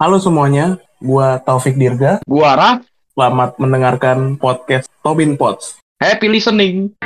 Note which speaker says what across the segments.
Speaker 1: Halo semuanya, gua Taufik Dirga.
Speaker 2: Gua Raf,
Speaker 1: Selamat mendengarkan podcast Tobin Pots.
Speaker 2: happy listening.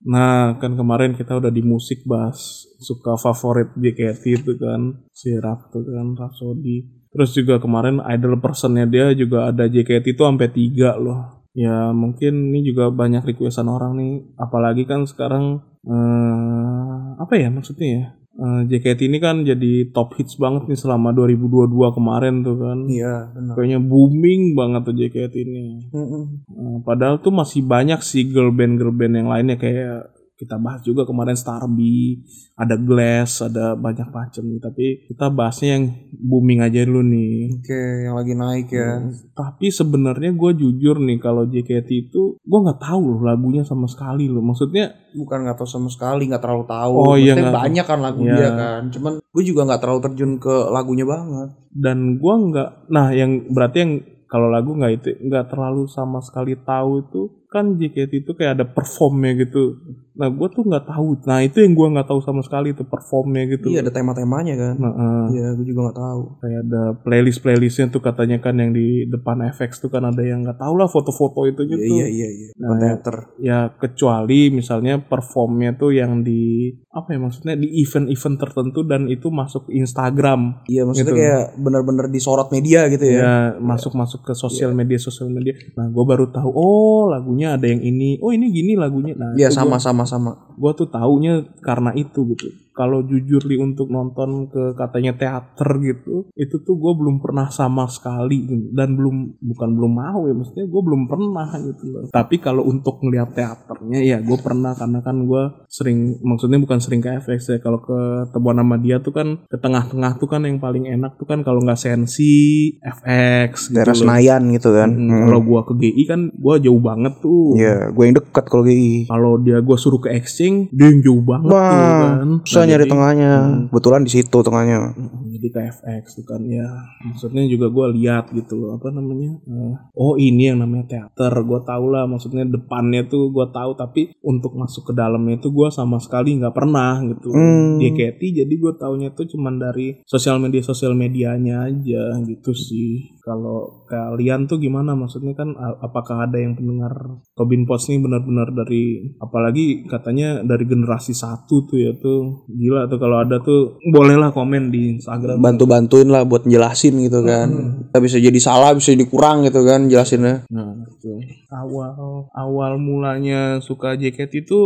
Speaker 1: Nah, kan kemarin kita udah di musik bahas suka favorit JKT itu kan, si Raf tuh kan, Rhapsody. Terus juga kemarin idol personnya dia juga ada JKT itu sampai tiga loh. Ya mungkin ini juga banyak requestan orang nih, apalagi kan sekarang eh, apa ya maksudnya ya? Eh, JKT ini kan jadi top hits banget nih selama 2022 kemarin tuh kan.
Speaker 3: Iya, benar.
Speaker 1: Kayaknya booming banget tuh JKT ini.
Speaker 3: Mm-mm.
Speaker 1: Eh, padahal tuh masih banyak sih girl band girl band yang lainnya kayak kita bahas juga kemarin Starby, ada Glass, ada banyak macam nih. Tapi kita bahasnya yang booming aja dulu nih. Hmm,
Speaker 3: Oke, yang lagi naik ya.
Speaker 1: Tapi sebenarnya gue jujur nih kalau JKT itu gue nggak tahu loh lagunya sama sekali loh. Maksudnya
Speaker 3: Bukan nggak tahu sama sekali, nggak terlalu tahu.
Speaker 1: Oh, iya,
Speaker 3: Maksudnya
Speaker 1: nggak-
Speaker 3: banyak kan lagu
Speaker 1: Iya.
Speaker 3: dia kan. Cuman gue juga nggak terlalu terjun ke lagunya banget.
Speaker 1: dan gue nggak. Nah yang berarti yang kalau lagu nggak itu nggak terlalu sama sekali tahu itu kan JKT itu kayak ada performnya gitu. Nah gue tuh nggak tahu. Nah itu yang gue nggak tahu sama sekali itu performnya gitu.
Speaker 3: Iya, ada tema-temanya kan.
Speaker 1: Nah, eh,
Speaker 3: Iya, gue juga nggak tahu.
Speaker 1: kayak ada playlist playlistnya tuh katanya kan yang di depan FX tuh kan ada yang nggak tahu lah foto-foto itu gitu.
Speaker 3: Iya, iya, iya, iya. Bukan
Speaker 1: Nah,
Speaker 3: teater.
Speaker 1: Ya kecuali misalnya performnya tuh yang di apa ya maksudnya di event-event tertentu dan itu masuk Instagram.
Speaker 3: Iya, maksudnya
Speaker 1: gitu.
Speaker 3: kayak benar-benar disorot media gitu ya. Iya.
Speaker 1: Ya masuk-masuk ke sosial media sosial media. Nah gue baru tahu oh lagunya ada yang ini. Oh ini gini lagunya. Nah
Speaker 3: Iya,
Speaker 1: itu gua-
Speaker 3: sama sama sama.
Speaker 1: gue tuh taunya karena itu gitu kalau jujur li untuk nonton ke katanya teater gitu itu tuh gue belum pernah sama sekali gitu. dan belum bukan belum mau ya maksudnya gue belum pernah gitu loh. tapi kalau untuk ngeliat teaternya ya gue pernah karena kan gue sering maksudnya bukan sering ke FX ya kalau ke temuan sama dia tuh kan ke tengah-tengah tuh kan yang paling enak tuh kan kalau nggak sensi FX gitu
Speaker 3: Daerah
Speaker 1: loh.
Speaker 3: Senayan gitu kan.
Speaker 1: Mm,
Speaker 3: Mm.
Speaker 1: kalau gue ke GI kan gue jauh banget tuh
Speaker 3: Iya, gue yang dekat kalau GI.
Speaker 1: kalau dia gue suruh ke exchange dia yang jauh banget tuh
Speaker 3: Wah,
Speaker 1: kan
Speaker 3: susah
Speaker 1: Nah,
Speaker 3: nyari
Speaker 1: jadi-
Speaker 3: tengahnya.
Speaker 1: Hmm.
Speaker 3: Kebetulan di situ tengahnya.
Speaker 1: Mm, jadi ke FX tuh kan ya maksudnya juga gue lihat gitu loh apa namanya eh, oh ini yang namanya teater gue tau lah maksudnya depannya tuh gue tahu tapi untuk masuk ke dalamnya tuh gue sama sekali nggak pernah gitu
Speaker 3: Hmm.
Speaker 1: JKT jadi gue taunya tuh cuman dari sosial media sosial medianya aja gitu sih kalau kalian tuh gimana maksudnya kan a- apakah ada yang pendengar Tobin Pots nih benar-benar dari apalagi katanya dari generasi satu tuh ya tuh gila tuh kalau ada tuh bolehlah komen di Instagram
Speaker 3: bantu-bantuin lah buat jelasin gitu kan. Kita bisa jadi salah, bisa jadi kurang gitu kan jelasinnya.
Speaker 1: Nah, gitu. Awal awal mulanya suka JKT itu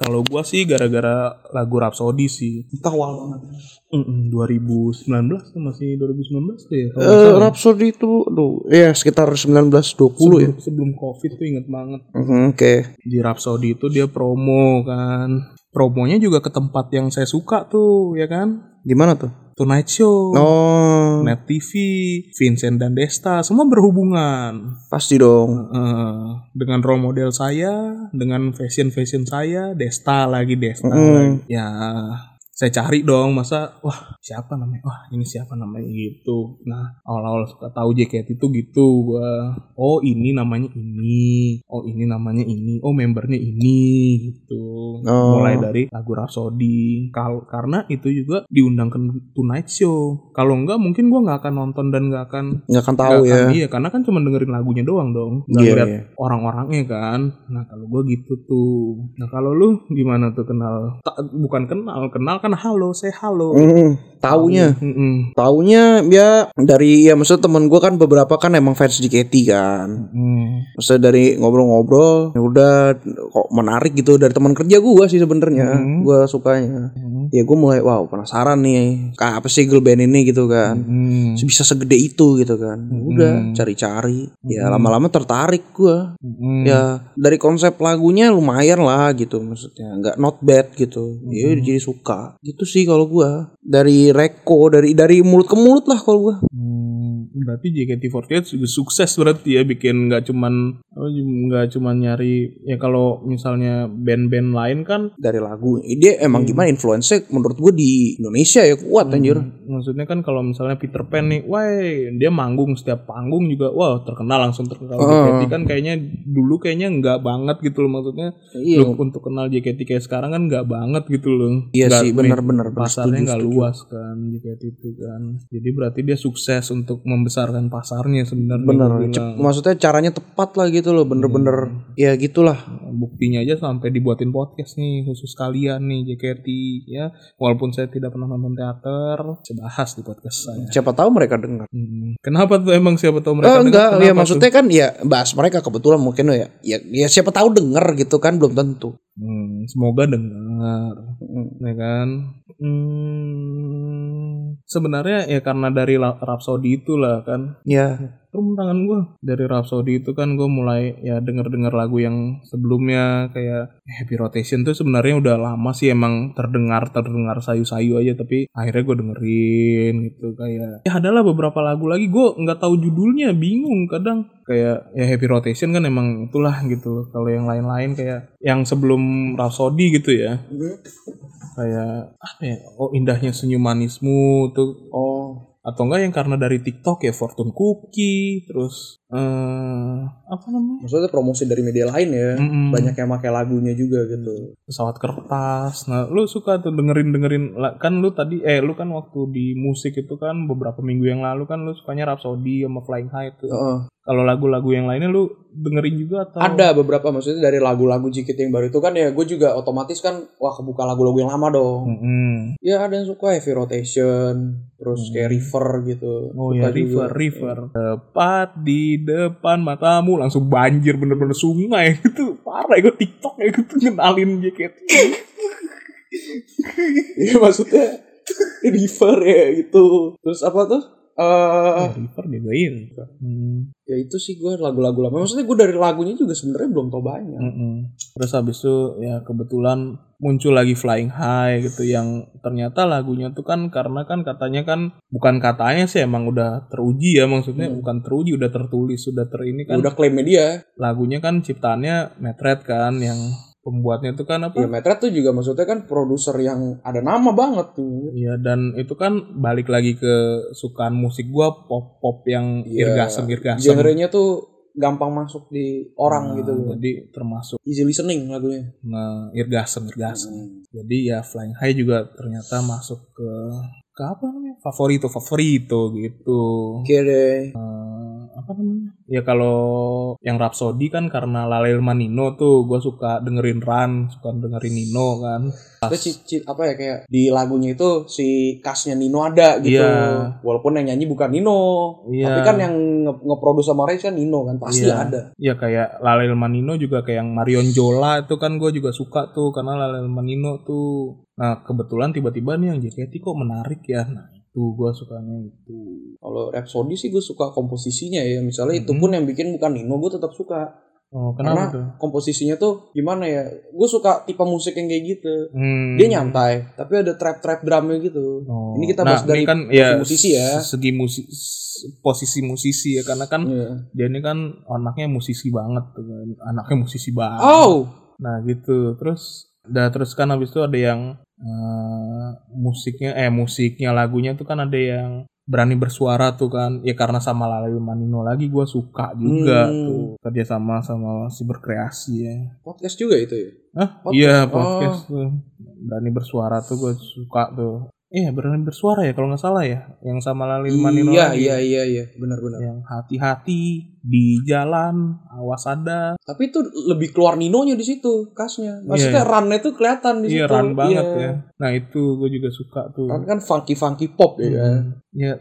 Speaker 1: kalau gua sih gara-gara lagu Rhapsody sih.
Speaker 3: Itu awal banget.
Speaker 1: Mm-mm, 2019 tuh masih 2019 tuh ya. kalau nggak
Speaker 3: Eh,
Speaker 1: salah.
Speaker 3: Rhapsody itu aduh,
Speaker 1: iya,
Speaker 3: ya sekitar 1920 ya.
Speaker 1: sebelum, sebelum Covid tuh inget banget.
Speaker 3: Mhm, Oke.
Speaker 1: Di Rhapsody itu dia promo kan. Promonya juga ke tempat yang saya suka tuh, ya kan?
Speaker 3: Di mana tuh?
Speaker 1: Tonight Show,
Speaker 3: Oh,
Speaker 1: Net TV, Vincent dan Desta, semua berhubungan.
Speaker 3: pasti dong.
Speaker 1: Eh, dengan role model saya, dengan fashion fashion saya, Desta lagi Desta
Speaker 3: Mm.
Speaker 1: lagi. Ya, saya cari dong masa wah siapa namanya wah ini siapa namanya gitu nah awal-awal suka tahu JKT itu gitu gua oh ini namanya ini oh ini namanya ini oh membernya ini gitu
Speaker 3: Oh.
Speaker 1: mulai dari lagu Rhapsody Kal- karena itu juga diundang ke Tonight Show kalau enggak mungkin gua nggak akan nonton dan nggak akan
Speaker 3: Nggak akan tahu
Speaker 1: Nggak
Speaker 3: ya.
Speaker 1: akan- Iya, karena kan cuma dengerin lagunya doang dong. Nggak
Speaker 3: Iya,
Speaker 1: lihat
Speaker 3: iya.
Speaker 1: orang-orangnya kan. Nah, kalau gue gitu tuh. Nah, kalau lu gimana tuh kenal? Ta- bukan kenal, kenal kan halo, saya halo.
Speaker 3: Mhm, taunya.
Speaker 1: Mm-mm.
Speaker 3: Taunya ya dari ya maksud temen gue kan beberapa kan emang fans JKT kan.
Speaker 1: Mm.
Speaker 3: Maksudnya dari ngobrol-ngobrol ya udah kok menarik gitu dari teman kerja gue sih sebenarnya.
Speaker 1: Mhm.
Speaker 3: Gue sukanya. Ya gue mulai wow penasaran nih. Kayak apa sih girl band ini gitu kan.
Speaker 1: Mm.
Speaker 3: bisa segede itu gitu kan
Speaker 1: Mhm.
Speaker 3: udah cari-cari
Speaker 1: Mhm.
Speaker 3: ya lama-lama tertarik gua
Speaker 1: Mm.
Speaker 3: ya dari konsep lagunya lumayan lah gitu maksudnya nggak not bad gitu ya
Speaker 1: Mhm.
Speaker 3: jadi suka gitu sih kalau gua dari reko dari dari mulut ke mulut lah kalau gua
Speaker 1: Hmm, berarti JKT48 juga sukses berarti ya bikin nggak cuman Oh, nggak cuma nyari ya kalau misalnya band-band lain kan
Speaker 3: dari lagu dia emang
Speaker 1: Hmm.
Speaker 3: gimana influence menurut gue di Indonesia ya kuat anjir
Speaker 1: maksudnya kan kalau misalnya Peter Pan nih, wah dia manggung setiap panggung juga wah terkenal langsung
Speaker 3: Oh.
Speaker 1: terkenal. JKT kan kayaknya dulu kayaknya nggak banget gitu loh maksudnya.
Speaker 3: Iya.
Speaker 1: Lu untuk kenal JKT kayak sekarang kan nggak banget gitu loh.
Speaker 3: Iya
Speaker 1: Nggak-
Speaker 3: sih, benar-benar, benar.
Speaker 1: pasarnya
Speaker 3: Setuju,
Speaker 1: nggak
Speaker 3: setuju.
Speaker 1: luas kan JKT itu kan. Jadi berarti dia sukses untuk membesarkan pasarnya sebenarnya.
Speaker 3: bener
Speaker 1: gua bilang. Hmm.
Speaker 3: Cep- maksudnya caranya tepat lah gitu loh bener-bener ya gitulah
Speaker 1: buktinya aja sampai dibuatin podcast nih khusus kalian nih JKT ya walaupun saya tidak pernah nonton teater saya bahas di podcast saya
Speaker 3: siapa tahu mereka dengar
Speaker 1: Hmm. Kenapa tuh emang siapa tahu Ya.
Speaker 3: Eh,
Speaker 1: mereka dengar?
Speaker 3: enggak, ya
Speaker 1: Kenapa
Speaker 3: maksudnya kan ya bahas mereka kebetulan mungkin ya, ya, ya siapa tahu denger gitu kan belum tentu.
Speaker 1: tuh? Hmm, semoga dengar,
Speaker 3: Mm.
Speaker 1: ya kan? Hmm, sebenarnya ya karena dari La- Rhapsody itulah kan.
Speaker 3: Ya,
Speaker 1: Rum tangan gue dari Rhapsody itu kan gue mulai ya denger-denger lagu yang sebelumnya kayak Happy Rotation tuh sebenarnya udah lama sih emang terdengar terdengar sayu-sayu aja tapi akhirnya gue dengerin gitu kayak ya adalah beberapa lagu lagi gue nggak tahu judulnya bingung kadang kayak ya Happy Rotation kan emang itulah gitu loh. kalau yang lain-lain kayak yang sebelum Rhapsody gitu ya kayak apa ya oh indahnya senyum manismu tuh
Speaker 3: oh
Speaker 1: atau enggak yang karena dari TikTok ya Fortune Cookie terus eh apa namanya
Speaker 3: maksudnya promosi dari media lain ya,
Speaker 1: Mm-mm.
Speaker 3: yang pakai lagunya juga gitu.
Speaker 1: pesawat kertas nah lu suka tuh dengerin dengerin kan lu tadi eh lu kan waktu di musik itu kan beberapa minggu yang lalu kan lu sukanya Rhapsody sama Flying High tuh kalau lagu-lagu yang lainnya lu dengerin juga atau
Speaker 3: Ada beberapa maksudnya dari lagu-lagu JKT yang baru itu kan ya gue juga otomatis kan wah kebuka lagu-lagu yang lama dong.
Speaker 1: Mm-mm.
Speaker 3: Ya ada yang suka heavy rotation, terus
Speaker 1: Hmm.
Speaker 3: kayak river gitu.
Speaker 1: Oh ya
Speaker 3: Suka juga.
Speaker 1: river, river. Tepat di depan matamu langsung banjir bener-bener sungai itu parah gue TikTok ya gitu ngenalin JKT.
Speaker 3: Iya maksudnya river ya gitu. Terus apa tuh? eh
Speaker 1: Ah, river juga ini. Hmm.
Speaker 3: ya itu sih gue lagu-lagu lama. Maksudnya gue dari lagunya juga sebenarnya belum tau banyak.
Speaker 1: Mm-mm. Terus habis itu ya kebetulan muncul lagi Flying High gitu yang ternyata lagunya tuh kan karena kan katanya kan bukan katanya sih emang udah teruji ya maksudnya
Speaker 3: Hmm.
Speaker 1: bukan teruji udah tertulis sudah ter ini
Speaker 3: Ya
Speaker 1: kan
Speaker 3: udah klaimnya dia.
Speaker 1: lagunya kan ciptaannya Metret kan yang pembuatnya tuh kan
Speaker 3: Ya
Speaker 1: apa?
Speaker 3: Metra tuh juga maksudnya kan produser yang ada nama banget tuh.
Speaker 1: Iya dan itu kan balik lagi ke sukaan musik gua pop pop yang
Speaker 3: Iya.
Speaker 1: irgasem irgasem
Speaker 3: Genrenya tuh gampang masuk di
Speaker 1: Nah,
Speaker 3: orang gitu.
Speaker 1: Jadi termasuk
Speaker 3: Easy listening lagunya.
Speaker 1: nah, irgasem irgasem. Jadi ya Flying High juga ternyata masuk ke ke apa namanya? Favorito favorito gitu.
Speaker 3: Oke deh.
Speaker 1: Eh, apa namanya? Ya kalau yang Rhapsody kan karena Lalel Manino tuh gue suka dengerin Run, suka dengerin Nino kan.
Speaker 3: Terus ci- ci- apa ya kayak di lagunya itu si kasnya Nino ada gitu.
Speaker 1: Iya.
Speaker 3: Walaupun yang nyanyi bukan Nino,
Speaker 1: Iya.
Speaker 3: tapi kan yang nge- nge-produce sama Ray kan Nino kan pasti
Speaker 1: Iya.
Speaker 3: ada.
Speaker 1: Ya kayak Lalel Manino juga kayak yang Marion Jola itu kan gue juga suka tuh karena Lalel Manino tuh. Nah kebetulan tiba-tiba nih yang JKT kok menarik ya. Nah itu gue sukanya gitu. itu.
Speaker 3: Kalau Rhapsody sih gue suka komposisinya ya. Misalnya itu
Speaker 1: Mhm.
Speaker 3: pun yang bikin bukan Nino gue tetap suka.
Speaker 1: Oh kenapa
Speaker 3: Karena-
Speaker 1: tuh?
Speaker 3: Komposisinya tuh gimana ya? Gue suka tipe musik yang kayak gitu.
Speaker 1: Hmm.
Speaker 3: Dia nyantai, tapi ada trap-trap drumnya gitu.
Speaker 1: Oh.
Speaker 3: Ini kita bahas dari musisi ya.
Speaker 1: iya, Segi musi, posisi musisi ya karena kan
Speaker 3: Iya.
Speaker 1: dia ini kan anaknya musisi banget tuh kan. Anaknya musisi banget.
Speaker 3: Oh,
Speaker 1: Nah, gitu. Terus udah terus kan habis itu ada yang eh, musiknya eh musiknya lagunya tuh kan ada yang berani bersuara tuh kan ya karena sama Lalayu Manino lagi gue suka juga
Speaker 3: Hmm.
Speaker 1: tuh kerja sama sama si berkreasi ya
Speaker 3: podcast juga itu ya.
Speaker 1: Hah?
Speaker 3: Podcast.
Speaker 1: Iya podcast tuh berani bersuara tuh gue suka tuh. Iya berani bersuara ya kalau nggak salah ya yang sama Lalil Manino
Speaker 3: iya,
Speaker 1: lagi.
Speaker 3: iya, iya, iya, benar-benar.
Speaker 1: Yang hati-hati di jalan awas ada.
Speaker 3: Tapi itu lebih keluar Ninonya di situ, kasnya. Maksudnya run-nya tuh kelihatan di situ.
Speaker 1: Iya run banget
Speaker 3: Iya.
Speaker 1: ya. Nah itu gue juga suka tuh.
Speaker 3: Kan kan funky funky pop ya. kan?
Speaker 1: Hmm. Ya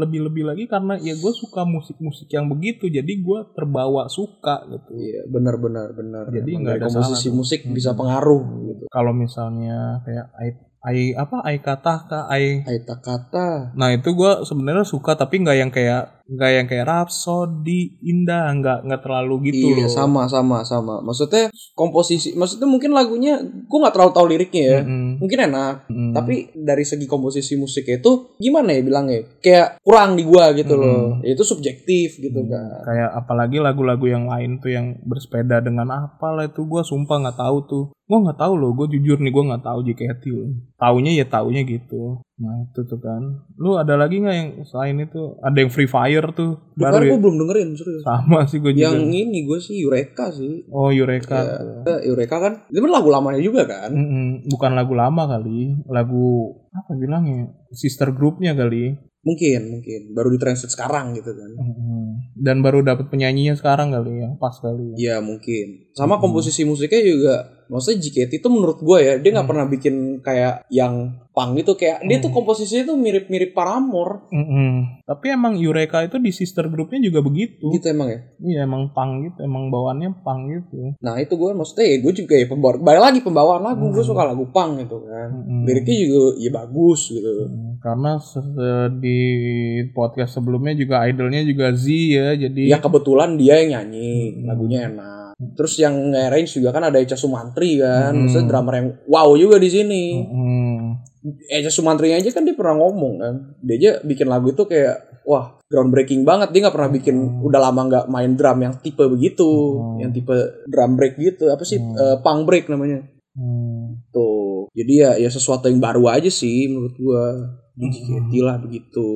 Speaker 1: lebih-lebih lagi karena ya gue suka musik-musik yang begitu jadi gue terbawa suka gitu.
Speaker 3: Iya, benar-benar benar.
Speaker 1: Jadi
Speaker 3: Emang
Speaker 1: nggak
Speaker 3: dari
Speaker 1: ada
Speaker 3: komposisi
Speaker 1: salah tuh.
Speaker 3: musik
Speaker 1: Hmm.
Speaker 3: bisa pengaruh gitu.
Speaker 1: Kalau misalnya kayak ai, ai apa ai kata ai
Speaker 3: Aita kata.
Speaker 1: Nah itu gue sebenarnya suka tapi nggak yang kayak nggak yang kayak Rhapsody Indah nggak nggak terlalu gitu loh
Speaker 3: iya sama sama sama maksudnya komposisi maksudnya mungkin lagunya gue nggak terlalu tahu liriknya ya
Speaker 1: Mm-mm.
Speaker 3: mungkin enak
Speaker 1: Mm-mm.
Speaker 3: tapi dari segi komposisi musiknya itu gimana ya bilangnya kayak kurang di gua
Speaker 1: Hmm.
Speaker 3: gitu loh Ya, itu subjektif gitu kan
Speaker 1: kayak apalagi lagu-lagu yang lain tuh yang bersepeda dengan apa lah itu gue sumpah nggak tahu tuh gue nggak tahu loh gue jujur nih gue nggak tahu JKT loh taunya ya taunya gitu nah itu tuh kan lu ada lagi nggak yang selain itu ada yang Free Fire tuh baru
Speaker 3: Karena
Speaker 1: ya?
Speaker 3: gue belum dengerin serius
Speaker 1: sama sih gue juga
Speaker 3: kan yang ini gue sih Eureka sih
Speaker 1: oh Eureka tuh.
Speaker 3: Eh, Eureka kan itu kan lagu lamanya juga kan
Speaker 1: Mm-mm, bukan lagu lama kali lagu apa bilangnya sister groupnya kali
Speaker 3: mungkin mungkin baru ditranslate sekarang gitu kan
Speaker 1: Mm-mm. dan baru dapat penyanyinya sekarang kali yang pas kali
Speaker 3: Ya mungkin. Sama komposisi musiknya juga. Maksudnya JKT itu menurut gue ya dia nggak pernah bikin kayak yang punk gitu kayak dia tuh komposisinya tuh mirip-mirip Paramore
Speaker 1: Mm-mm. tapi emang Eureka itu di sister groupnya juga begitu
Speaker 3: gitu emang ya.
Speaker 1: Iya emang pang gitu, emang bawaannya pang gitu.
Speaker 3: Nah itu gue maksudnya ya gue juga ya pembawa balik lagi pembawaan lagu gue suka lagu punk gitu kan.
Speaker 1: Mm-mm.
Speaker 3: Liriknya juga ya bagus gitu.
Speaker 1: Mm, Karena se- se- di podcast sebelumnya juga idolnya juga Z ya, jadi
Speaker 3: Ya kebetulan dia yang nyanyi
Speaker 1: Hmm.
Speaker 3: lagunya enak. Terus yang nge-arrange juga kan ada Echa Sumantri kan.
Speaker 1: Hmm.
Speaker 3: Maksudnya drummer yang wow juga di sini.
Speaker 1: Mm-mm.
Speaker 3: Eja Sumantri aja kan dia pernah ngomong kan dia aja bikin lagu itu kayak wah groundbreaking banget dia nggak pernah bikin udah lama nggak main drum yang tipe begitu
Speaker 1: Hmm.
Speaker 3: yang tipe drum break gitu apa sih
Speaker 1: Hmm.
Speaker 3: Eh, punk break namanya
Speaker 1: Mm.
Speaker 3: tuh jadi ya ya sesuatu yang baru aja sih menurut gua
Speaker 1: Hmm.
Speaker 3: di JKT lah begitu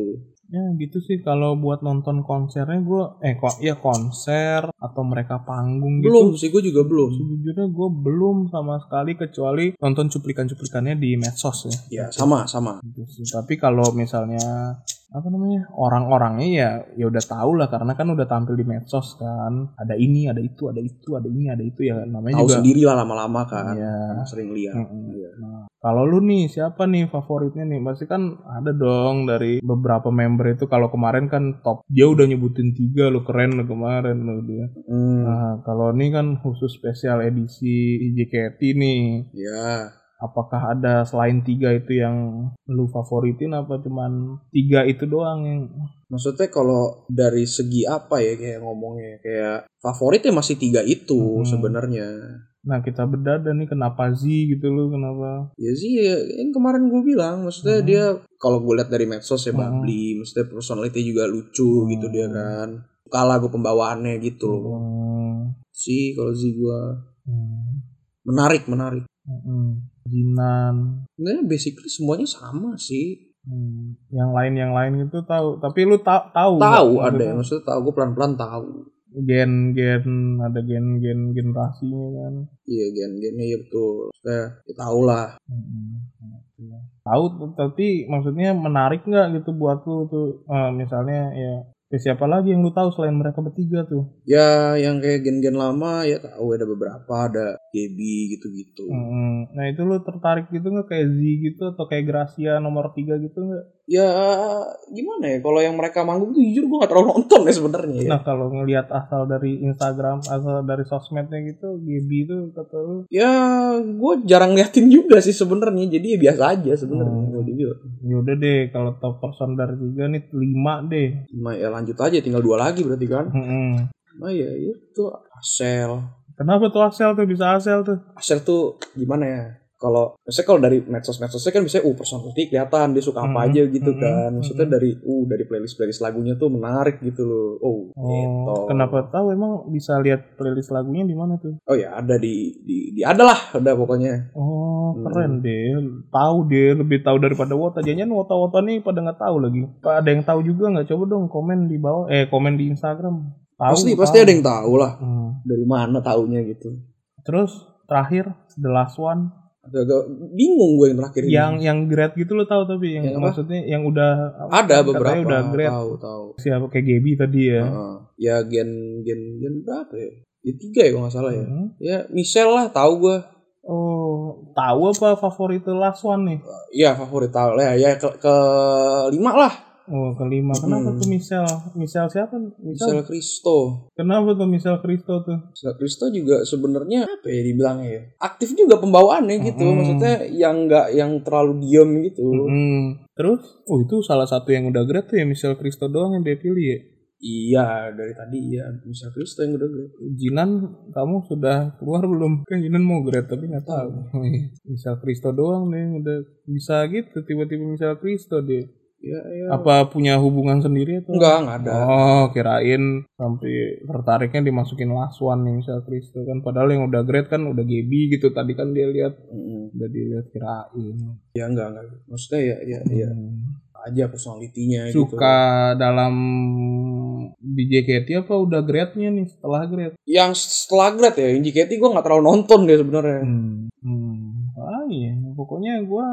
Speaker 1: Ya gitu sih kalau buat nonton konsernya gue eh kok ya konser atau mereka panggung gitu.
Speaker 3: belum sih gua juga belum
Speaker 1: Sejujurnya gue belum sama sekali kecuali nonton cuplikan-cuplikannya di medsos ya.
Speaker 3: ya sama sama
Speaker 1: Gitu sih. Tapi kalau misalnya apa namanya orang-orangnya ya ya udah tahu lah karena kan udah tampil di medsos kan ada ini ada itu ada itu ada ini ada itu ya namanya
Speaker 3: tahu
Speaker 1: juga
Speaker 3: sendiri lah lama-lama kan
Speaker 1: Iya.
Speaker 3: sering lihat
Speaker 1: Mm-mm.
Speaker 3: Iya.
Speaker 1: Nah, kalau lu nih siapa nih favoritnya nih? Pasti kan ada dong dari beberapa member itu. Kalau kemarin kan top dia udah nyebutin tiga lo keren lo kemarin lo dia.
Speaker 3: Hmm,
Speaker 1: Nah, kalau ini kan khusus spesial edisi JKT nih.
Speaker 3: ya
Speaker 1: Apakah ada selain tiga itu yang lu favoritin apa cuman tiga itu doang yang
Speaker 3: Maksudnya kalau dari segi apa ya kayak ngomongnya kayak favoritnya masih tiga itu
Speaker 1: Mhm.
Speaker 3: sebenarnya.
Speaker 1: Nah kita bedah dan nih kenapa Z gitu lu kenapa
Speaker 3: Ya sih ya, yang kemarin gue bilang maksudnya
Speaker 1: Mhm.
Speaker 3: dia kalau gue lihat dari medsos
Speaker 1: Mhm.
Speaker 3: ya bubbly, maksudnya personality juga lucu gitu dia kan. Suka lagu pembawaannya gitu loh.
Speaker 1: Hmm,
Speaker 3: Sih kalau sih gue
Speaker 1: hmm,
Speaker 3: menarik menarik.
Speaker 1: hmm. Jinan
Speaker 3: Sebenarnya basically semuanya sama sih.
Speaker 1: Hmm, yang lain yang lain itu tahu, tapi lu ta tahu
Speaker 3: Tahu
Speaker 1: nggak?
Speaker 3: ada ya,
Speaker 1: Maksudnya
Speaker 3: maksudnya tahu gue pelan-pelan tahu.
Speaker 1: gen-gen ada gen-gen generasinya kan.
Speaker 3: Iya gen-gennya ya betul. Maksudnya ya, tahu lah.
Speaker 1: Hmm, gitu. Tahu tuh, tapi maksudnya menarik nggak gitu buat lu tuh Eh, misalnya ya, ya siapa lagi yang lu tahu selain mereka bertiga tuh?
Speaker 3: Ya, yang kayak gen-gen lama ya tahu ada beberapa, ada Gaby gitu-gitu.
Speaker 1: Hmm, nah itu lu tertarik gitu nggak kayak Z gitu atau kayak Gracia nomor tiga gitu nggak?
Speaker 3: Ya gimana ya kalau yang mereka manggung tuh jujur gua gak terlalu nonton ya sebenarnya ya.
Speaker 1: Nah kalau ngelihat asal dari Instagram, asal dari sosmednya gitu, GB itu kata lu
Speaker 3: Ya gue jarang liatin juga sih sebenarnya. Jadi ya biasa aja sebenarnya ya,
Speaker 1: Hmm.
Speaker 3: kalau dibilang.
Speaker 1: Yaudah deh, kalau top person dari tiga nih lima deh.
Speaker 3: Nah, ya lanjut aja tinggal dua lagi berarti kan.
Speaker 1: Mm-mm.
Speaker 3: Nah ya itu Asel.
Speaker 1: Kenapa tuh Asel tuh bisa Asel tuh?
Speaker 3: Asel tuh gimana ya? Kalau misalnya kalau dari medsos-medsosnya kan misalnya uh personality kelihatan dia suka apa
Speaker 1: Mhm,
Speaker 3: aja gitu
Speaker 1: mhm,
Speaker 3: kan. Maksudnya
Speaker 1: mhm.
Speaker 3: dari uh dari playlist-playlist lagunya tuh menarik gitu loh. Oh, gitu.
Speaker 1: Oh, kenapa tahu emang bisa lihat playlist lagunya di mana tuh?
Speaker 3: Oh ya ada di di, di ada lah ada pokoknya.
Speaker 1: Oh,
Speaker 3: Hmm.
Speaker 1: keren deh. Tahu deh, lebih tahu daripada Wota. Jangan Wota-Wota nih pada nggak tahu lagi. Pak, ada yang tahu juga nggak? Coba dong komen di bawah. Eh, komen di Instagram. Tahu,
Speaker 3: pasti
Speaker 1: tahu.
Speaker 3: pasti ada yang tahu lah
Speaker 1: Hmm.
Speaker 3: dari mana taunya gitu.
Speaker 1: Terus terakhir the last one
Speaker 3: Agak bingung gue yang terakhir ini.
Speaker 1: yang yang grade gitu lo tahu tapi yang,
Speaker 3: Yang apa?
Speaker 1: maksudnya yang udah
Speaker 3: ada
Speaker 1: katanya
Speaker 3: beberapa
Speaker 1: udah grade
Speaker 3: tahu tahu.
Speaker 1: siapa kayak Gaby tadi ya.
Speaker 3: Heeh. ya gen gen gen berapa ya? Ya tiga ya kalau nggak salah ya.
Speaker 1: Hmm.
Speaker 3: Ya Michelle lah tahu gue.
Speaker 1: Oh, tahu apa favorit the last one nih?
Speaker 3: Ya favorit tahu lah ya ke, ke lima lah
Speaker 1: Oh, kelima. Kenapa
Speaker 3: Hmm.
Speaker 1: tuh Michelle? Michelle siapa? Michelle.
Speaker 3: Michelle Kristo.
Speaker 1: Kenapa tuh Michelle Kristo tuh?
Speaker 3: Michelle Kristo juga sebenarnya apa ya dibilangnya ya? Aktif juga pembawaannya gitu.
Speaker 1: Mm-mm.
Speaker 3: Maksudnya yang nggak yang terlalu diem gitu.
Speaker 1: Hmm. Mm-mm. Terus, oh itu salah satu yang udah grade tuh ya Michelle Kristo doang yang dia pilih ya.
Speaker 3: Iya, dari tadi iya. Michelle Chris tuh yang gede-gede.
Speaker 1: Jinan kamu sudah keluar belum? Kan Jinan mau grad tapi nggak tahu. misal Kristo doang nih udah bisa gitu tiba-tiba misal Kristo dia.
Speaker 3: Iya, iya.
Speaker 1: Apa punya hubungan sendiri atau?
Speaker 3: Enggak, enggak ada.
Speaker 1: Oh kirain sampai tertariknya dimasukin lasuan nih misal Kristo kan padahal yang udah grad kan udah Gebi gitu tadi kan dia lihat
Speaker 3: Mm-mm.
Speaker 1: udah dilihat kirain.
Speaker 3: Ya enggak, enggak. Maksudnya ya, ya, ya.
Speaker 1: Hmm.
Speaker 3: aja personalitinya gitu.
Speaker 1: Suka dalam di JKT apa udah grade-nya nih setelah grade?
Speaker 3: Yang setelah grad ya, yang JKT gue nggak terlalu nonton dia sebenarnya.
Speaker 1: Hmm. Hmm. Ah, iya. Pokoknya gue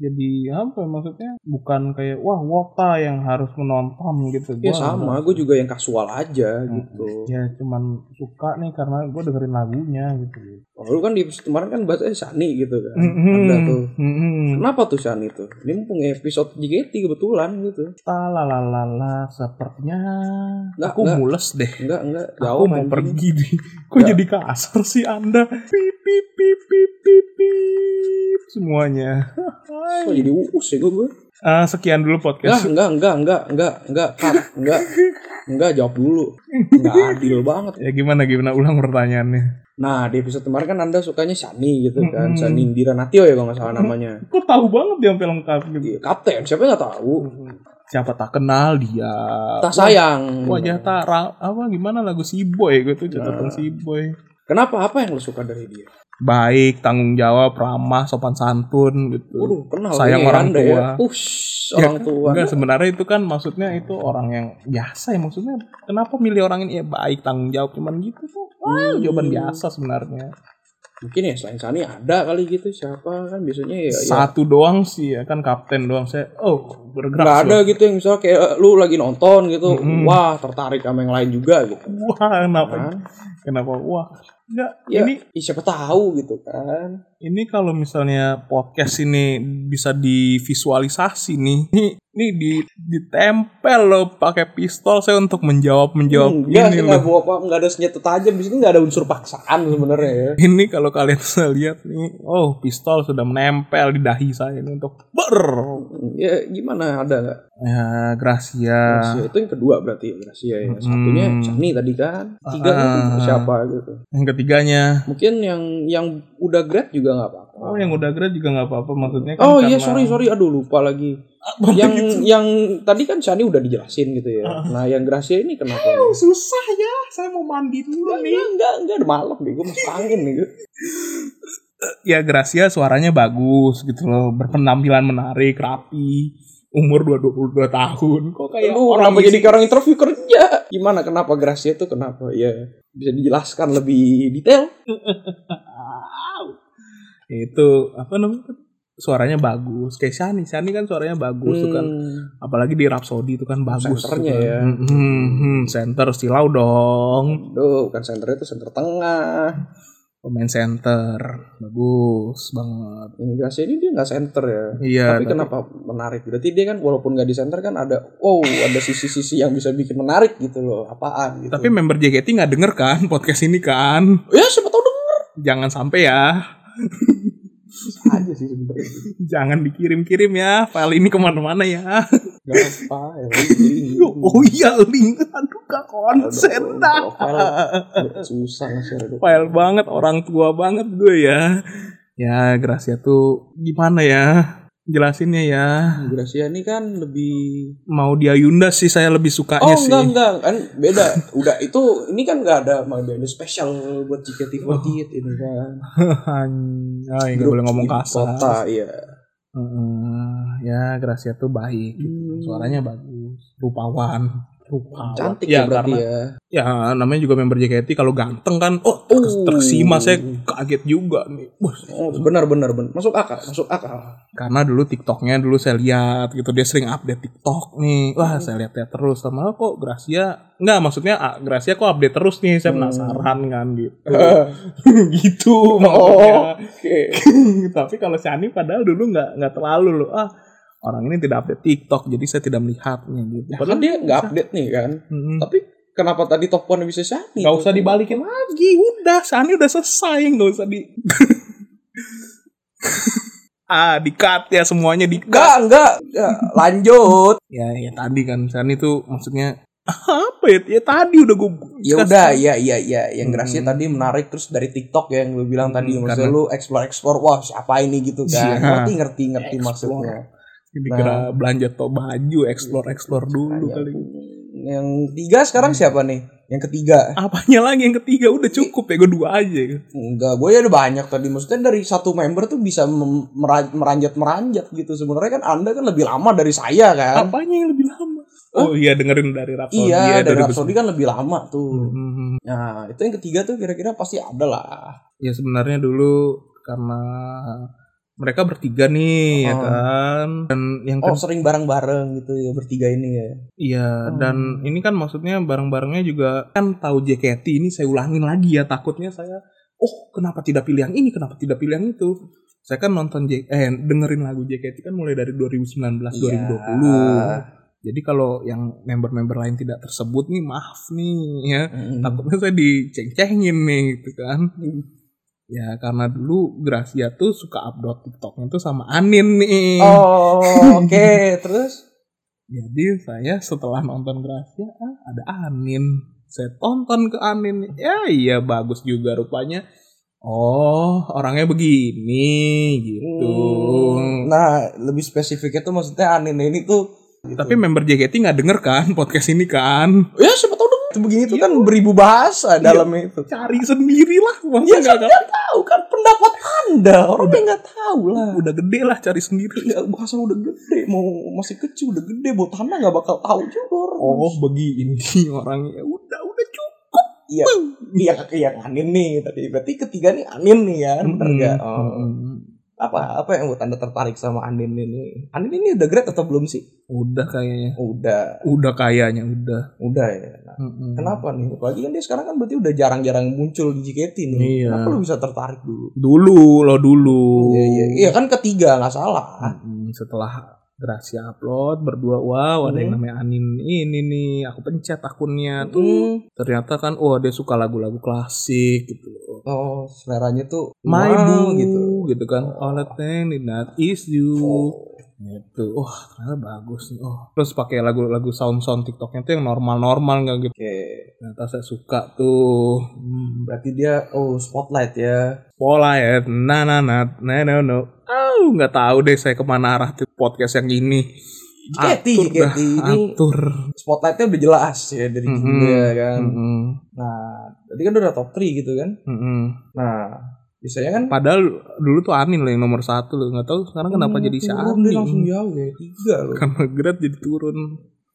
Speaker 1: jadi apa ya, maksudnya bukan kayak wah wota yang harus menonton gitu.
Speaker 3: Ya
Speaker 1: Gua
Speaker 3: sama,
Speaker 1: enggak.
Speaker 3: gue juga yang kasual aja gitu.
Speaker 1: Ya cuman suka nih karena gue dengerin lagunya gitu.
Speaker 3: Kalau lu kan di episode kemarin kan bahasnya Sani gitu kan.
Speaker 1: Mm-mm.
Speaker 3: Ada tuh.
Speaker 1: Mm-mm.
Speaker 3: Kenapa tuh Sani tuh? Dia mempunyai episode JKT kebetulan gitu.
Speaker 1: Talalalala sepertinya
Speaker 3: Nggak,
Speaker 1: aku
Speaker 3: nggak.
Speaker 1: mules deh.
Speaker 3: Enggak, enggak.
Speaker 1: Aku mau
Speaker 3: anjing.
Speaker 1: pergi deh. Kok
Speaker 3: Nggak.
Speaker 1: jadi kasar sih Anda? Pip pip pip pip pip pip semuanya.
Speaker 3: Kok jadi uus ya gue?
Speaker 1: Ah, sekian dulu
Speaker 3: Enggak,
Speaker 1: podcast.
Speaker 3: enggak, enggak, enggak, enggak, enggak, Kak. enggak, enggak, jawab dulu. Enggak adil banget.
Speaker 1: Ya gimana gimana ulang pertanyaannya.
Speaker 3: Nah, di episode kemarin kan Anda sukanya Sani gitu kan.
Speaker 1: Mm-mm.
Speaker 3: Sani Indira Natio ya kalau nggak salah namanya.
Speaker 1: Kok tahu banget dia sampai lengkap gitu.
Speaker 3: Iya, Kapten, siapa yang nggak tahu?
Speaker 1: Siapa tak kenal dia.
Speaker 3: Tak sayang.
Speaker 1: Wajah iya, tak ra- apa gimana lagu si boy gitu catatan
Speaker 3: Nah.
Speaker 1: si boy.
Speaker 3: Kenapa? Apa yang lo suka dari dia?
Speaker 1: Baik, tanggung jawab, ramah, sopan santun gitu.
Speaker 3: Waduh, kenal
Speaker 1: Sayang
Speaker 3: ini
Speaker 1: orang
Speaker 3: Anda ya.
Speaker 1: tua. Iya.
Speaker 3: Ush, orang tua.
Speaker 1: Enggak sebenarnya itu kan maksudnya itu orang yang biasa ya maksudnya kenapa milih orang ini ya baik tanggung jawab cuman gitu tuh wah
Speaker 3: Hmm.
Speaker 1: jawaban biasa sebenarnya
Speaker 3: Mungkin ya selain Sani ada kali gitu siapa kan biasanya ya, ya.
Speaker 1: satu doang sih ya kan kapten doang saya oh bergerak
Speaker 3: Nggak ada
Speaker 1: sudah.
Speaker 3: gitu yang misalnya kayak eh, lu lagi nonton gitu,
Speaker 1: Mm-mm.
Speaker 3: wah tertarik sama yang lain juga gitu.
Speaker 1: wah kenapa
Speaker 3: Kan?
Speaker 1: kenapa wah enggak
Speaker 3: Ya,
Speaker 1: ini
Speaker 3: ih, siapa tahu gitu kan.
Speaker 1: Ini kalau misalnya podcast ini bisa divisualisasi nih, ini, ini di, ditempel loh pakai pistol saya untuk menjawab menjawab
Speaker 3: Hmm, enggak
Speaker 1: Ya, ini
Speaker 3: sih
Speaker 1: loh.
Speaker 3: nggak bawa apa, nggak ada senjata tajam di sini nggak ada unsur paksaan sebenarnya ya.
Speaker 1: Ini kalau kalian bisa lihat nih, oh pistol sudah menempel di dahi saya ini untuk ber.
Speaker 3: Ya gimana ada nggak?
Speaker 1: Ya, Gracia.
Speaker 3: Gracia itu yang kedua berarti ya Gracia ya. Satunya
Speaker 1: Hmm.
Speaker 3: Sani tadi kan. Tiga itu
Speaker 1: Ah.
Speaker 3: siapa gitu.
Speaker 1: Yang ketiganya.
Speaker 3: Mungkin yang yang udah grad juga nggak apa-apa.
Speaker 1: Oh, yang udah grade juga nggak apa-apa maksudnya kan
Speaker 3: Oh iya
Speaker 1: karena-
Speaker 3: sorry sorry aduh lupa lagi.
Speaker 1: Apa
Speaker 3: yang
Speaker 1: gitu? Ah.
Speaker 3: yang tadi kan Shani udah dijelasin gitu ya. Nah yang Gracia ini kenapa?
Speaker 1: Oh, susah ya, saya mau mandi dulu nih.
Speaker 3: Enggak enggak enggak udah malam deh gue masuk angin nih.
Speaker 1: ya Gracia suaranya bagus gitu loh, berpenampilan menarik, rapi, umur 22 tahun. Kok kayak
Speaker 3: Lu
Speaker 1: orang
Speaker 3: kenapa
Speaker 1: isi-
Speaker 3: jadi orang interview kerja? Gimana kenapa Gracia itu kenapa? Ya bisa dijelaskan lebih detail.
Speaker 1: itu apa namanya? Suaranya bagus. Kayak Shani, Shani kan suaranya bagus tuh kan.
Speaker 3: Hmm.
Speaker 1: Apalagi di Rhapsody itu kan bagus. tuh
Speaker 3: Senternya
Speaker 1: kan.
Speaker 3: ya.
Speaker 1: Hmm, hmm, hmm. Center silau dong.
Speaker 3: Aduh, bukan center itu center tengah.
Speaker 1: Pemain center. Bagus banget.
Speaker 3: Ini Gracia ini dia nggak center ya.
Speaker 1: Iya.
Speaker 3: tapi, kenapa menarik? Berarti dia kan walaupun nggak di center kan ada wow ada sisi-sisi yang bisa bikin menarik gitu loh. Apaan gitu.
Speaker 1: tapi member JKT nggak denger kan podcast ini kan?
Speaker 3: ya siapa tahu dong
Speaker 1: Jangan sampai ya.
Speaker 3: aja sih sebenarnya.
Speaker 1: Jangan dikirim-kirim ya. File ini kemana-mana ya.
Speaker 3: Gak apa ya. Ini-
Speaker 1: Oh iya link aduh gak konsen
Speaker 3: Aduh,
Speaker 1: dah.
Speaker 3: profile. Susah nge-share aduh.
Speaker 1: File banget orang tua banget gue ya. Ya Gracia tuh gimana ya? Jelasinnya ya.
Speaker 3: Gracia ini kan lebih
Speaker 1: Mau dia Yunda sih saya lebih sukanya
Speaker 3: Oh
Speaker 1: sih.
Speaker 3: enggak enggak kan beda udah itu ini kan enggak ada emang dia ada spesial buat JKT48 ini kan
Speaker 1: Ay, Oh. Ah, nggak boleh ngomong
Speaker 3: Grup
Speaker 1: kasar.
Speaker 3: kota iya
Speaker 1: Heeh. ya Gracia tuh baik. gitu.
Speaker 3: Hmm.
Speaker 1: Suaranya bagus, rupawan. Rupawan.
Speaker 3: cantik
Speaker 1: ya,
Speaker 3: ya, berarti
Speaker 1: karena
Speaker 3: ya
Speaker 1: ya namanya juga member JKT kalau ganteng kan oh
Speaker 3: Oh.
Speaker 1: tersimak saya kaget juga nih. Wah,
Speaker 3: oh benar benar benar masuk akal masuk akal
Speaker 1: karena dulu TikToknya dulu saya lihat gitu dia sering update TikTok nih wah
Speaker 3: Hmm.
Speaker 1: saya lihat lihat terus sama "Oh, kok Gracia nggak maksudnya ah, Gracia kok update terus nih saya
Speaker 3: Hmm.
Speaker 1: penasaran kan gitu
Speaker 3: Oh.
Speaker 1: gitu maksudnya
Speaker 3: oke
Speaker 1: tapi kalau Shani padahal dulu nggak nggak terlalu loh ah orang ini tidak update TikTok jadi saya tidak melihatnya gitu
Speaker 3: Padahal dia nggak update nih kan.
Speaker 1: Mm-mm.
Speaker 3: Tapi kenapa tadi toponnya bisa Shani?
Speaker 1: nggak usah dibalikin lagi udah Shani udah selesai nggak usah di ah di cut ya semuanya di cut
Speaker 3: Enggak, enggak. Ya, lanjut.
Speaker 1: ya ya tadi kan Shani tuh maksudnya apa ya? Ya tadi udah gue
Speaker 3: Ya udah, ya ya ya. Yang gerasinya
Speaker 1: kan? Hmm.
Speaker 3: tadi menarik terus dari TikTok ya yang lu bilang tadi
Speaker 1: Hmm,
Speaker 3: maksud
Speaker 1: karena-
Speaker 3: lu explore explore wah siapa ini gitu
Speaker 1: Iya.
Speaker 3: kan. Ngerti ngerti ngerti
Speaker 1: Explore.
Speaker 3: maksudnya.
Speaker 1: dikira belanja to baju, explore explore dulu
Speaker 3: Nah,
Speaker 1: kali. Hmm.
Speaker 3: yang- Yang tiga sekarang siapa nih? Yang ketiga.
Speaker 1: Apanya lagi yang ketiga udah cukup ya gue dua aja.
Speaker 3: Enggak, gue ya ada banyak tadi. Maksudnya dari satu member tuh bisa mem- mera- meranjat-meranjat gitu. Sebenarnya kan Anda kan lebih lama dari saya kan.
Speaker 1: Apanya yang lebih lama? Oh iya dengerin dari Rhapsody
Speaker 3: iya,
Speaker 1: ya,
Speaker 3: dari
Speaker 1: dari
Speaker 3: Rhapsody kan lebih lama tuh.
Speaker 1: Hmm.
Speaker 3: Nah, itu yang ketiga tuh kira-kira pasti ada lah.
Speaker 1: Ya sebenarnya dulu karena mereka bertiga nih ya
Speaker 3: Oh.
Speaker 1: kan dan yang
Speaker 3: Oh,
Speaker 1: kedua
Speaker 3: sering bareng-bareng gitu ya bertiga ini ya.
Speaker 1: iya dan
Speaker 3: Hmm.
Speaker 1: ini kan maksudnya barang-barangnya juga kan tahu JKT ini saya ulangin lagi ya takutnya saya oh kenapa tidak pilih yang ini kenapa tidak pilih yang itu saya kan nonton J eh dengerin lagu JKT kan mulai dari 2019
Speaker 3: Iya.
Speaker 1: 2020 jadi kalau yang member-member lain tidak tersebut nih maaf nih ya
Speaker 3: Mm.
Speaker 1: takutnya saya diceng-cengin nih gitu kan
Speaker 3: Hmm.
Speaker 1: ya karena dulu Gracia tuh suka upload TikToknya tuh sama Anin nih
Speaker 3: Oh, oke, terus
Speaker 1: jadi saya setelah nonton Gracia ah, ada Anin saya tonton ke Anin ya iya bagus juga rupanya oh orangnya begini gitu
Speaker 3: Hmm, Nah, lebih spesifiknya tuh maksudnya Anin ini tuh gitu.
Speaker 1: tapi member JKT nggak denger kan podcast ini kan
Speaker 3: ya siapa tahu dong. Itu begini
Speaker 1: Iya,
Speaker 3: tuh kan beribu bahasa dalam itu.
Speaker 1: cari sendirilah masa
Speaker 3: Gitu. Ya
Speaker 1: nggak
Speaker 3: saya nggak tahu kan pendapat anda orang yang nggak tahu lah.
Speaker 1: udah gede lah cari sendiri
Speaker 3: Nggak bahasa udah gede mau masih kecil udah gede buat tanah nggak bakal tahu juga orang.
Speaker 1: oh begini orangnya Ya udah udah cukup
Speaker 3: iya iya kakek yang Anin nih tadi berarti ketiga nih Anin nih ya bener nggak?
Speaker 1: Mm,
Speaker 3: Oh.
Speaker 1: mm, mm.
Speaker 3: Apa apa yang buat anda tertarik sama Anin ini? Anin ini udah grade atau belum sih?
Speaker 1: udah kayaknya
Speaker 3: Udah
Speaker 1: udah kayaknya udah
Speaker 3: udah ya. Nah,
Speaker 1: Mm-mm.
Speaker 3: Kenapa nih? Apalagi kan dia sekarang kan berarti udah jarang-jarang muncul di JKT nih.
Speaker 1: Iya. Oh.
Speaker 3: Kenapa lu bisa tertarik dulu?
Speaker 1: dulu lo dulu
Speaker 3: Iya, iya, iya kan ketiga nggak salah.
Speaker 1: Mm-mm. hmm, setelah Gracia upload berdua wow ada yang
Speaker 3: Hmm.
Speaker 1: namanya Anin ini nih aku pencet akunnya tuh
Speaker 3: Hmm.
Speaker 1: ternyata kan oh dia suka lagu-lagu klasik gitu loh
Speaker 3: Oh, seleranya tuh
Speaker 1: My Boo,
Speaker 3: wow, gitu.
Speaker 1: gitu kan All I think in that is you
Speaker 3: Oh.
Speaker 1: gitu wah ternyata bagus nih oh terus pakai lagu-lagu sound-sound TikToknya tuh yang normal-normal nggak gitu
Speaker 3: Oke,
Speaker 1: ternyata saya suka tuh Hmm.
Speaker 3: berarti dia oh spotlight ya.
Speaker 1: Pola ya, na na na, na no no. Oh, nggak tahu deh saya kemana arah tuh podcast yang ini.
Speaker 3: JKT,
Speaker 1: Atur
Speaker 3: JKT
Speaker 1: dah,
Speaker 3: ini
Speaker 1: atur.
Speaker 3: spotlightnya udah jelas ya dari
Speaker 1: Mhm.
Speaker 3: dia kan.
Speaker 1: Mm-mm,
Speaker 3: Nah, tadi kan udah top 3 gitu kan.
Speaker 1: mm-mm.
Speaker 3: Nah, biasanya kan
Speaker 1: Padahal dulu tuh Anin loh yang nomor satu loh, nggak tahu sekarang kenapa
Speaker 3: Hmm,
Speaker 1: jadi si
Speaker 3: turun
Speaker 1: Anin.
Speaker 3: dia langsung jauh ya tiga loh.
Speaker 1: Karena grade jadi turun.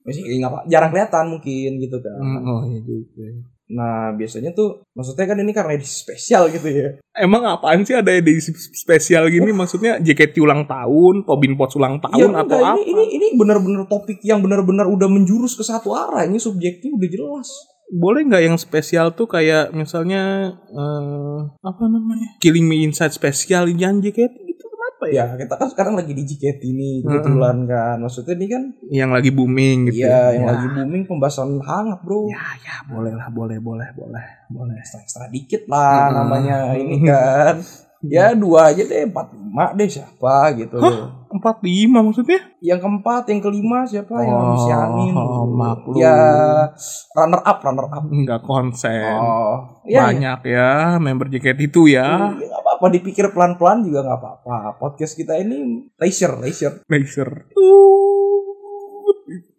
Speaker 3: Masih nggak apa- jarang kelihatan mungkin gitu kan.
Speaker 1: Mm, Oh iya juga.
Speaker 3: Nah, biasanya tuh maksudnya kan ini karena edisi spesial gitu ya.
Speaker 1: Emang apaan sih ada edisi spesial gini? Maksudnya JKT ulang tahun, Tobin Potts ulang tahun
Speaker 3: Ya,
Speaker 1: Iya, atau
Speaker 3: enggak,
Speaker 1: apa?
Speaker 3: ini, ini ini benar-benar topik yang benar-benar udah menjurus ke satu arah. Ini subjeknya udah jelas.
Speaker 1: boleh nggak yang spesial tuh kayak misalnya eh, apa namanya Killing Me Inside spesial janji kayak gitu kenapa ya
Speaker 3: Ya, kita kan sekarang lagi di JKT ini
Speaker 1: Mm-hmm.
Speaker 3: kebetulan kan. Maksudnya ini kan
Speaker 1: yang lagi booming gitu
Speaker 3: Iya, yang
Speaker 1: ya.
Speaker 3: lagi booming pembahasan hangat, Bro.
Speaker 1: ya ya boleh lah boleh boleh boleh boleh
Speaker 3: Ekstra-ekstra dikit
Speaker 1: Mm.
Speaker 3: lah namanya ini kan. Ya dua aja deh, empat lima deh siapa gitu. loh.
Speaker 1: empat lima maksudnya
Speaker 3: Yang keempat, yang kelima siapa yang
Speaker 1: Oh,
Speaker 3: bisa amin?
Speaker 1: maklum.
Speaker 3: Ya runner up, runner up.
Speaker 1: nggak konsen
Speaker 3: Oh, ya,
Speaker 1: banyak ya member JKT itu ya
Speaker 3: Ya nggak apa-apa dipikir pelan-pelan juga nggak apa-apa. Podcast kita ini leisure, leisure.
Speaker 1: mixer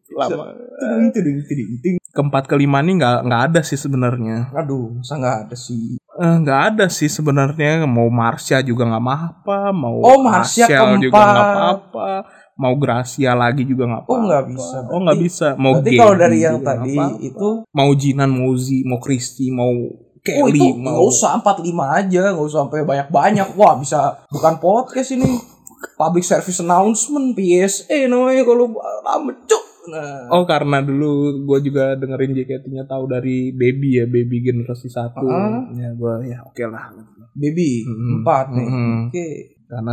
Speaker 1: lama
Speaker 3: Tudung, tudung, tudung, tudung.
Speaker 1: keempat kelima nih nggak nggak ada sih sebenarnya
Speaker 3: Aduh, masa nggak ada sih.
Speaker 1: Eh, nggak ada sih sebenarnya mau Marsha juga nggak apa mau
Speaker 3: Oh, Marsha
Speaker 1: Rachel juga
Speaker 3: keempat.
Speaker 1: nggak apa-apa mau Gracia lagi juga nggak apa,
Speaker 3: Oh, nggak bisa.
Speaker 1: oh nggak bisa mau
Speaker 3: Berarti
Speaker 1: Gaby
Speaker 3: kalau dari yang
Speaker 1: juga nggak
Speaker 3: tadi
Speaker 1: apa-apa.
Speaker 3: itu,
Speaker 1: mau Jinan mau Uzi mau Kristi mau Kelly
Speaker 3: oh itu nggak
Speaker 1: mau
Speaker 3: usah 45 aja, nggak usah sampai banyak-banyak. Wah bisa bukan podcast ini, public service announcement PSA namanya kalau lama cuk. Nah,
Speaker 1: oh karena dulu gue juga dengerin JKT-nya tahu dari Baby ya Baby generasi satu
Speaker 3: Ah.
Speaker 1: ya gue ya oke Mm-hmm. lah
Speaker 3: baby
Speaker 1: Mm-mm.
Speaker 3: empat nih.
Speaker 1: Mm-mm.
Speaker 3: Oke.
Speaker 1: karena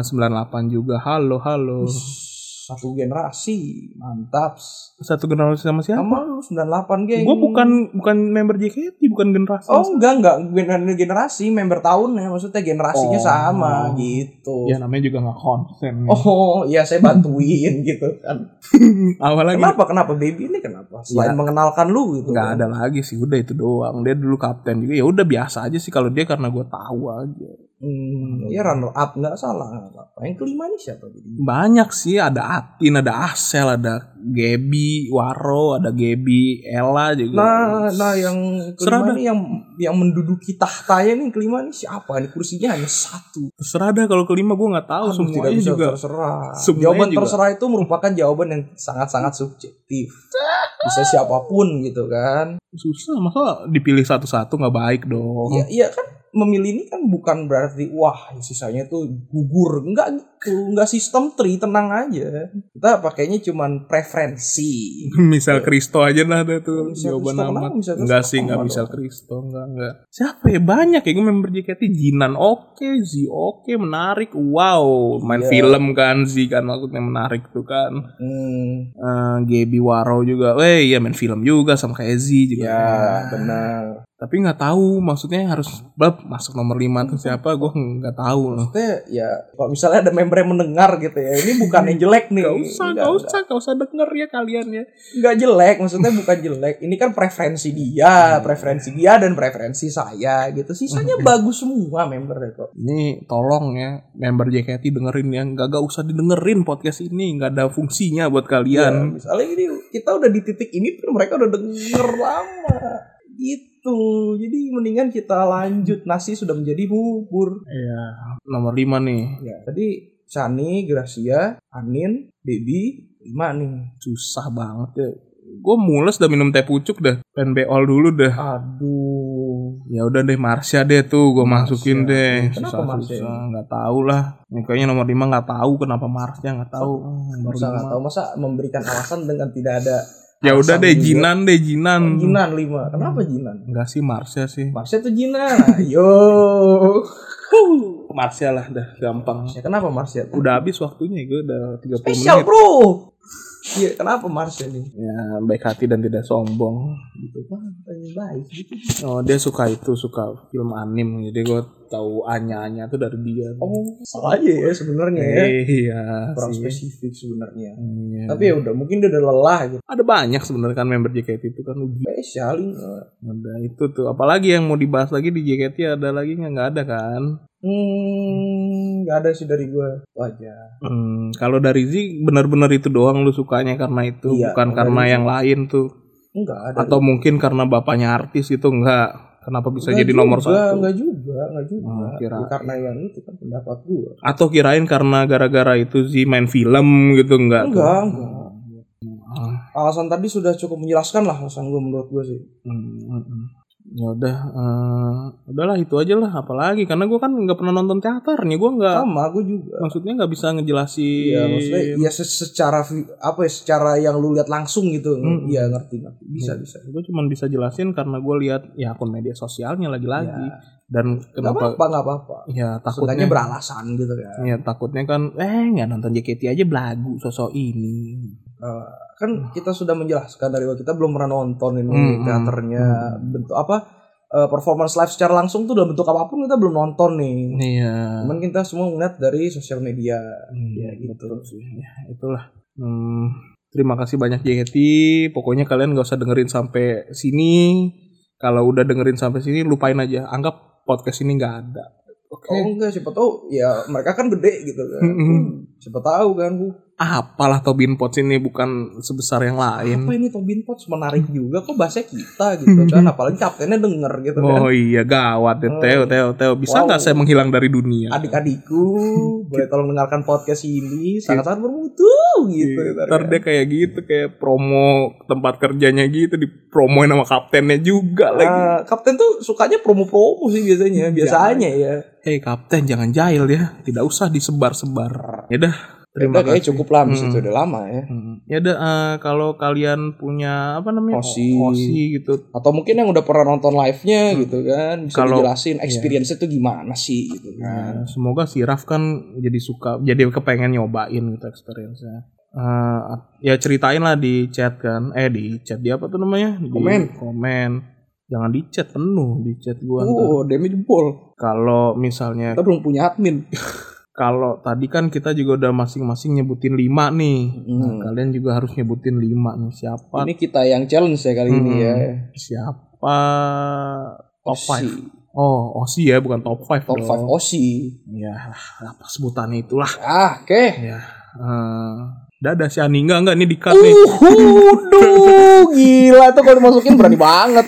Speaker 1: 98 juga halo halo
Speaker 3: satu generasi mantap
Speaker 1: Satu generasi sama siapa?
Speaker 3: sama lu 98 geng
Speaker 1: Gue bukan bukan member JKT, bukan generasi.
Speaker 3: oh enggak enggak gen- generasi member tahunnya maksudnya generasinya
Speaker 4: Oh.
Speaker 3: sama gitu
Speaker 1: Ya namanya juga nggak konsen.
Speaker 3: oh ya saya bantuin gitu kan
Speaker 1: awal lagi
Speaker 3: kenapa kenapa baby ini kenapa
Speaker 1: Ya.
Speaker 3: selain mengenalkan lu gitu
Speaker 1: nggak
Speaker 3: kan?
Speaker 1: ada lagi sih, udah itu doang. Dia dulu kapten juga, ya udah biasa aja sih kalau dia karena gue tahu aja.
Speaker 3: Hmm, ya runner up nggak salah nggak apa-apa. Yang kelima nih siapa jadi?
Speaker 1: Banyak sih, ada Atin, ada Asel, ada Gebi, Waro, ada Gebi, Ella juga.
Speaker 3: Nah, nah yang kelima
Speaker 1: Serada.
Speaker 3: nih yang yang menduduki tahtanya nih yang kelima nih siapa nih kursinya hanya satu.
Speaker 1: terserah dah kalau kelima gue nggak tahu,
Speaker 3: Aduh, tidak
Speaker 1: Kan semuanya
Speaker 3: bisa
Speaker 1: juga
Speaker 3: terserah.
Speaker 1: semuanya
Speaker 3: jawaban
Speaker 1: juga.
Speaker 3: terserah itu merupakan jawaban yang sangat-sangat subjektif. Bisa siapapun gitu kan.
Speaker 1: susah. Masa dipilih satu-satu nggak baik dong.
Speaker 3: Iya, iya kan memilih ini kan bukan berarti wah sisanya tuh gugur enggak gitu enggak sistem tri tenang aja kita pakainya cuman preferensi
Speaker 1: Misal Kristo aja lah ada tuh
Speaker 3: Iya. Misal
Speaker 1: jawaban
Speaker 3: Kristo,
Speaker 1: amat.
Speaker 3: kenapa Misal Kristo?
Speaker 1: Enggak sih, enggak
Speaker 3: Kenapa
Speaker 1: misal
Speaker 3: dong?
Speaker 1: Kristo, enggak enggak. Siapa ya banyak ya gue member JKT Jinan oke, Zi oke, menarik. Wow, main
Speaker 3: Iya.
Speaker 1: film kan Zi kan maksudnya menarik tuh kan.
Speaker 3: hmm,
Speaker 1: Eh Gaby Waro juga. Eh iya main film juga sama kayak Zi juga.
Speaker 3: ya benar
Speaker 1: Tapi nggak tahu maksudnya yang harus bab masuk nomor 5 tuh siapa gue nggak tahu loh.
Speaker 3: Maksudnya ya kalau misalnya ada member yang mendengar gitu ya ini bukan yang jelek nih
Speaker 1: Gak usah,
Speaker 3: Nggak-
Speaker 1: gak usah, gak usah denger ya kalian ya.
Speaker 3: nggak jelek maksudnya bukan jelek ini kan preferensi dia preferensi dia dan preferensi saya gitu sisanya bagus semua membernya kok
Speaker 1: Ini tolong ya member JKT dengerin ya nggak gak usah didengerin podcast ini nggak ada fungsinya buat
Speaker 3: ya,
Speaker 1: kalian.
Speaker 3: misalnya ini kita udah di titik ini tuh mereka udah denger lama gitu jadi mendingan kita lanjut nasi sudah menjadi bubur
Speaker 1: Iya. Nomor 5 nih
Speaker 3: ya tadi Shani Gracia Anin Baby lima nih
Speaker 1: susah banget ya. Gue mules dah minum teh pucuk dah. Pengen beol dulu dah.
Speaker 3: aduh
Speaker 1: Ya udah deh Marsha deh tuh gue masukin
Speaker 3: Marsha.
Speaker 1: deh.
Speaker 3: Kenapa
Speaker 1: susah
Speaker 3: Marsha? ya?
Speaker 1: susah nggak tahu lah. Ini Kayaknya nomor 5 nggak tahu kenapa Marsha nggak tahu. Hmm, nomor
Speaker 3: masa nggak
Speaker 1: lima.
Speaker 3: tahu masa memberikan alasan dengan tidak ada
Speaker 1: Ya udah
Speaker 3: alasan
Speaker 1: deh
Speaker 3: juga. Oh,
Speaker 1: Jinan deh Jinan.
Speaker 3: Jinan lima kenapa
Speaker 1: Hmm.
Speaker 3: Jinan
Speaker 1: Enggak sih Marsha sih.
Speaker 3: Marsha tuh Jinan yo
Speaker 1: Marsha lah dah gampang.
Speaker 3: Marsha kenapa Marsha
Speaker 1: Udah habis waktunya gue udah 30
Speaker 3: spesial
Speaker 1: menit.
Speaker 3: bro iya kenapa Marsha nih
Speaker 1: Ya baik hati dan tidak sombong.
Speaker 3: gitu Wah, tanya baik gitu
Speaker 1: Oh, dia suka itu, suka film anim. Jadi gue tahu Anya-Anya tuh dari dia.
Speaker 3: oh salah aja ya sebenarnya ya
Speaker 1: Eh, iya.
Speaker 3: kurang
Speaker 1: sih.
Speaker 3: spesifik sebenarnya
Speaker 1: Iya.
Speaker 3: tapi ya udah mungkin dia udah lelah gitu
Speaker 1: ada banyak sebenarnya kan member JKT itu kan udah
Speaker 3: spesial lima
Speaker 1: ada itu tuh. Apalagi yang mau dibahas lagi di JKT ada lagi nggak nggak ada kan?
Speaker 3: hmm nggak ada sih dari gue wajar
Speaker 1: Hmm, kalau dari Z benar-benar itu doang lu sukanya karena itu,
Speaker 3: Iya,
Speaker 1: bukan
Speaker 3: dari
Speaker 1: karena
Speaker 3: Z.
Speaker 1: yang lain tuh.
Speaker 3: enggak ada
Speaker 1: Atau mungkin karena bapaknya artis itu enggak. Kenapa bisa
Speaker 3: Nggak
Speaker 1: jadi nomor
Speaker 3: juga,
Speaker 1: satu?
Speaker 3: Enggak juga, enggak juga.
Speaker 1: Oh, kira-
Speaker 3: Ya, karena yang itu kan pendapat gua.
Speaker 1: Atau kirain karena gara-gara itu sih main film gitu enggak? tuh?
Speaker 3: Enggak, enggak. Alasan tadi sudah cukup menjelaskan lah alasan gua menurut gua sih.
Speaker 1: Hmm, hmm, hmm. ya udah eh, udahlah itu aja lah apalagi karena gue kan nggak pernah nonton teater nih gue nggak
Speaker 3: Sama gua juga.
Speaker 1: maksudnya nggak bisa ngejelasin
Speaker 3: Iya, maksudnya ya se- secara vi- apa ya secara yang lu lihat langsung gitu.
Speaker 1: Mm-mm.
Speaker 3: Iya, ngerti ngerti. Bisa bisa.
Speaker 1: gue cuman bisa jelasin karena gue lihat ya akun media sosialnya lagi-lagi
Speaker 3: Iya.
Speaker 1: dan
Speaker 3: Enggak
Speaker 1: kenapa
Speaker 3: apa-apa, enggak apa-apa.
Speaker 1: ya
Speaker 3: Takutnya
Speaker 1: takutnya
Speaker 3: beralasan gitu kan.
Speaker 1: ya takutnya kan eh nggak nonton JKT aja belagu sosok ini
Speaker 3: Eh, kan kita sudah menjelaskan dari awal kita belum pernah nonton ini
Speaker 1: Mm-mm.
Speaker 3: teaternya bentuk apa eh, performance live secara langsung tuh dalam bentuk apapun kita belum nonton nih.
Speaker 1: iya
Speaker 3: Cuman kita semua ngeliat dari sosial media.
Speaker 1: ya
Speaker 3: Nah. Ya,
Speaker 1: gitu
Speaker 3: gitu.
Speaker 1: sih ya itulah Hmm, terima kasih banyak JKT pokoknya kalian gak usah dengerin sampai sini kalau udah dengerin sampai sini lupain aja anggap podcast ini nggak ada oke
Speaker 3: Oh enggak siapa tahu ya mereka kan gede gitu kan.
Speaker 1: Mm-mm.
Speaker 3: Hmm, Siapa tahu kan Bu.
Speaker 1: apalah Tobin Pots ini bukan sebesar yang
Speaker 3: Apa
Speaker 1: lain
Speaker 3: ini Tobin Potts menarik juga kok bahasa kita gitu kan apalagi kaptennya denger gitu kan.
Speaker 1: Hmm. oh iya gawat deh
Speaker 3: Oh.
Speaker 1: Teo Teo Teo bisa
Speaker 3: Wow.
Speaker 1: nggak saya menghilang dari dunia
Speaker 3: Adik-adikku boleh tolong dengarkan podcast ini sangat-sangat bermutu gitu.
Speaker 1: Iya. Ntar dia kayak gitu kayak promo tempat kerjanya gitu dipromoin sama kaptennya juga lagi Iya.
Speaker 3: Ah, kapten tuh sukanya promo-promo sih biasanya, biasanya ya.
Speaker 1: Hei Eh, kapten jangan jahil ya, tidak usah disebar-sebar. Ya dah, terima
Speaker 3: Udah, kayaknya
Speaker 1: kasih.
Speaker 3: cukup lah abis
Speaker 1: Hmm.
Speaker 3: itu udah lama ya.
Speaker 1: Hmm. Ya dah, eh, kalau kalian punya apa namanya
Speaker 3: Osi.
Speaker 1: Osi gitu,
Speaker 3: Atau mungkin yang udah pernah nonton live-nya gitu kan bisa
Speaker 1: Hmm. Kalau- iya.
Speaker 3: dijelasin experience-nya tuh gimana sih gitu kan.
Speaker 1: eh, semoga si Raf kan jadi suka, jadi kepengen nyobain gitu experience-nya. Eh, eh, ya ceritain lah di chat kan eh di chat di apa tuh namanya Di
Speaker 3: Komen.
Speaker 1: komen jangan di chat penuh di chat Nah, gua ntar.
Speaker 3: Oh, damage jebol.
Speaker 1: kalau misalnya
Speaker 3: Kita belum punya admin.
Speaker 1: kalau tadi kan kita juga udah masing-masing nyebutin lima nih Nah,
Speaker 3: Hmm.
Speaker 1: kalian juga harus nyebutin lima nih siapa
Speaker 3: Ini kita yang challenge ya kali ini
Speaker 1: Hmm.
Speaker 3: ya.
Speaker 1: siapa top
Speaker 3: Osi.
Speaker 1: five oh osi ya bukan top five
Speaker 3: Top
Speaker 1: dong.
Speaker 3: 5 Osi.
Speaker 1: ya apa sebutannya itulah
Speaker 3: Ah, oke.
Speaker 1: ya eh, dadah si Ani enggak enggak ini di cut nih
Speaker 3: Uhuh, duh, gila tuh kalau dimasukin berani banget.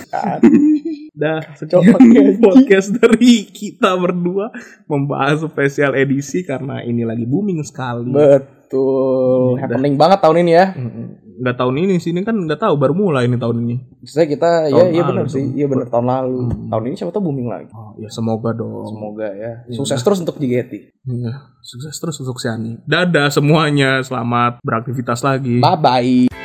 Speaker 1: Dah, sekian podcast dari kita berdua membahas spesial edisi karena ini lagi booming sekali.
Speaker 3: Betul.
Speaker 1: Iya,
Speaker 3: Happening banget tahun ini ya.
Speaker 1: Mm-mm. Nggak tahun ini sih, ini kan nggak tahu baru mulai ini tahun ini.
Speaker 3: Saya kita ya
Speaker 1: Tahun
Speaker 3: iya
Speaker 1: lalu
Speaker 3: benar
Speaker 1: dong.
Speaker 3: sih. Iya benar tahun lalu.
Speaker 1: Hmm.
Speaker 3: Tahun ini siapa tahu booming lagi.
Speaker 1: Oh, ya semoga dong.
Speaker 3: Semoga ya.
Speaker 1: Iya.
Speaker 3: Sukses terus untuk JGT.
Speaker 1: Iya, sukses terus untuk si Ani. Dadah semuanya, selamat beraktivitas lagi.
Speaker 3: Bye bye.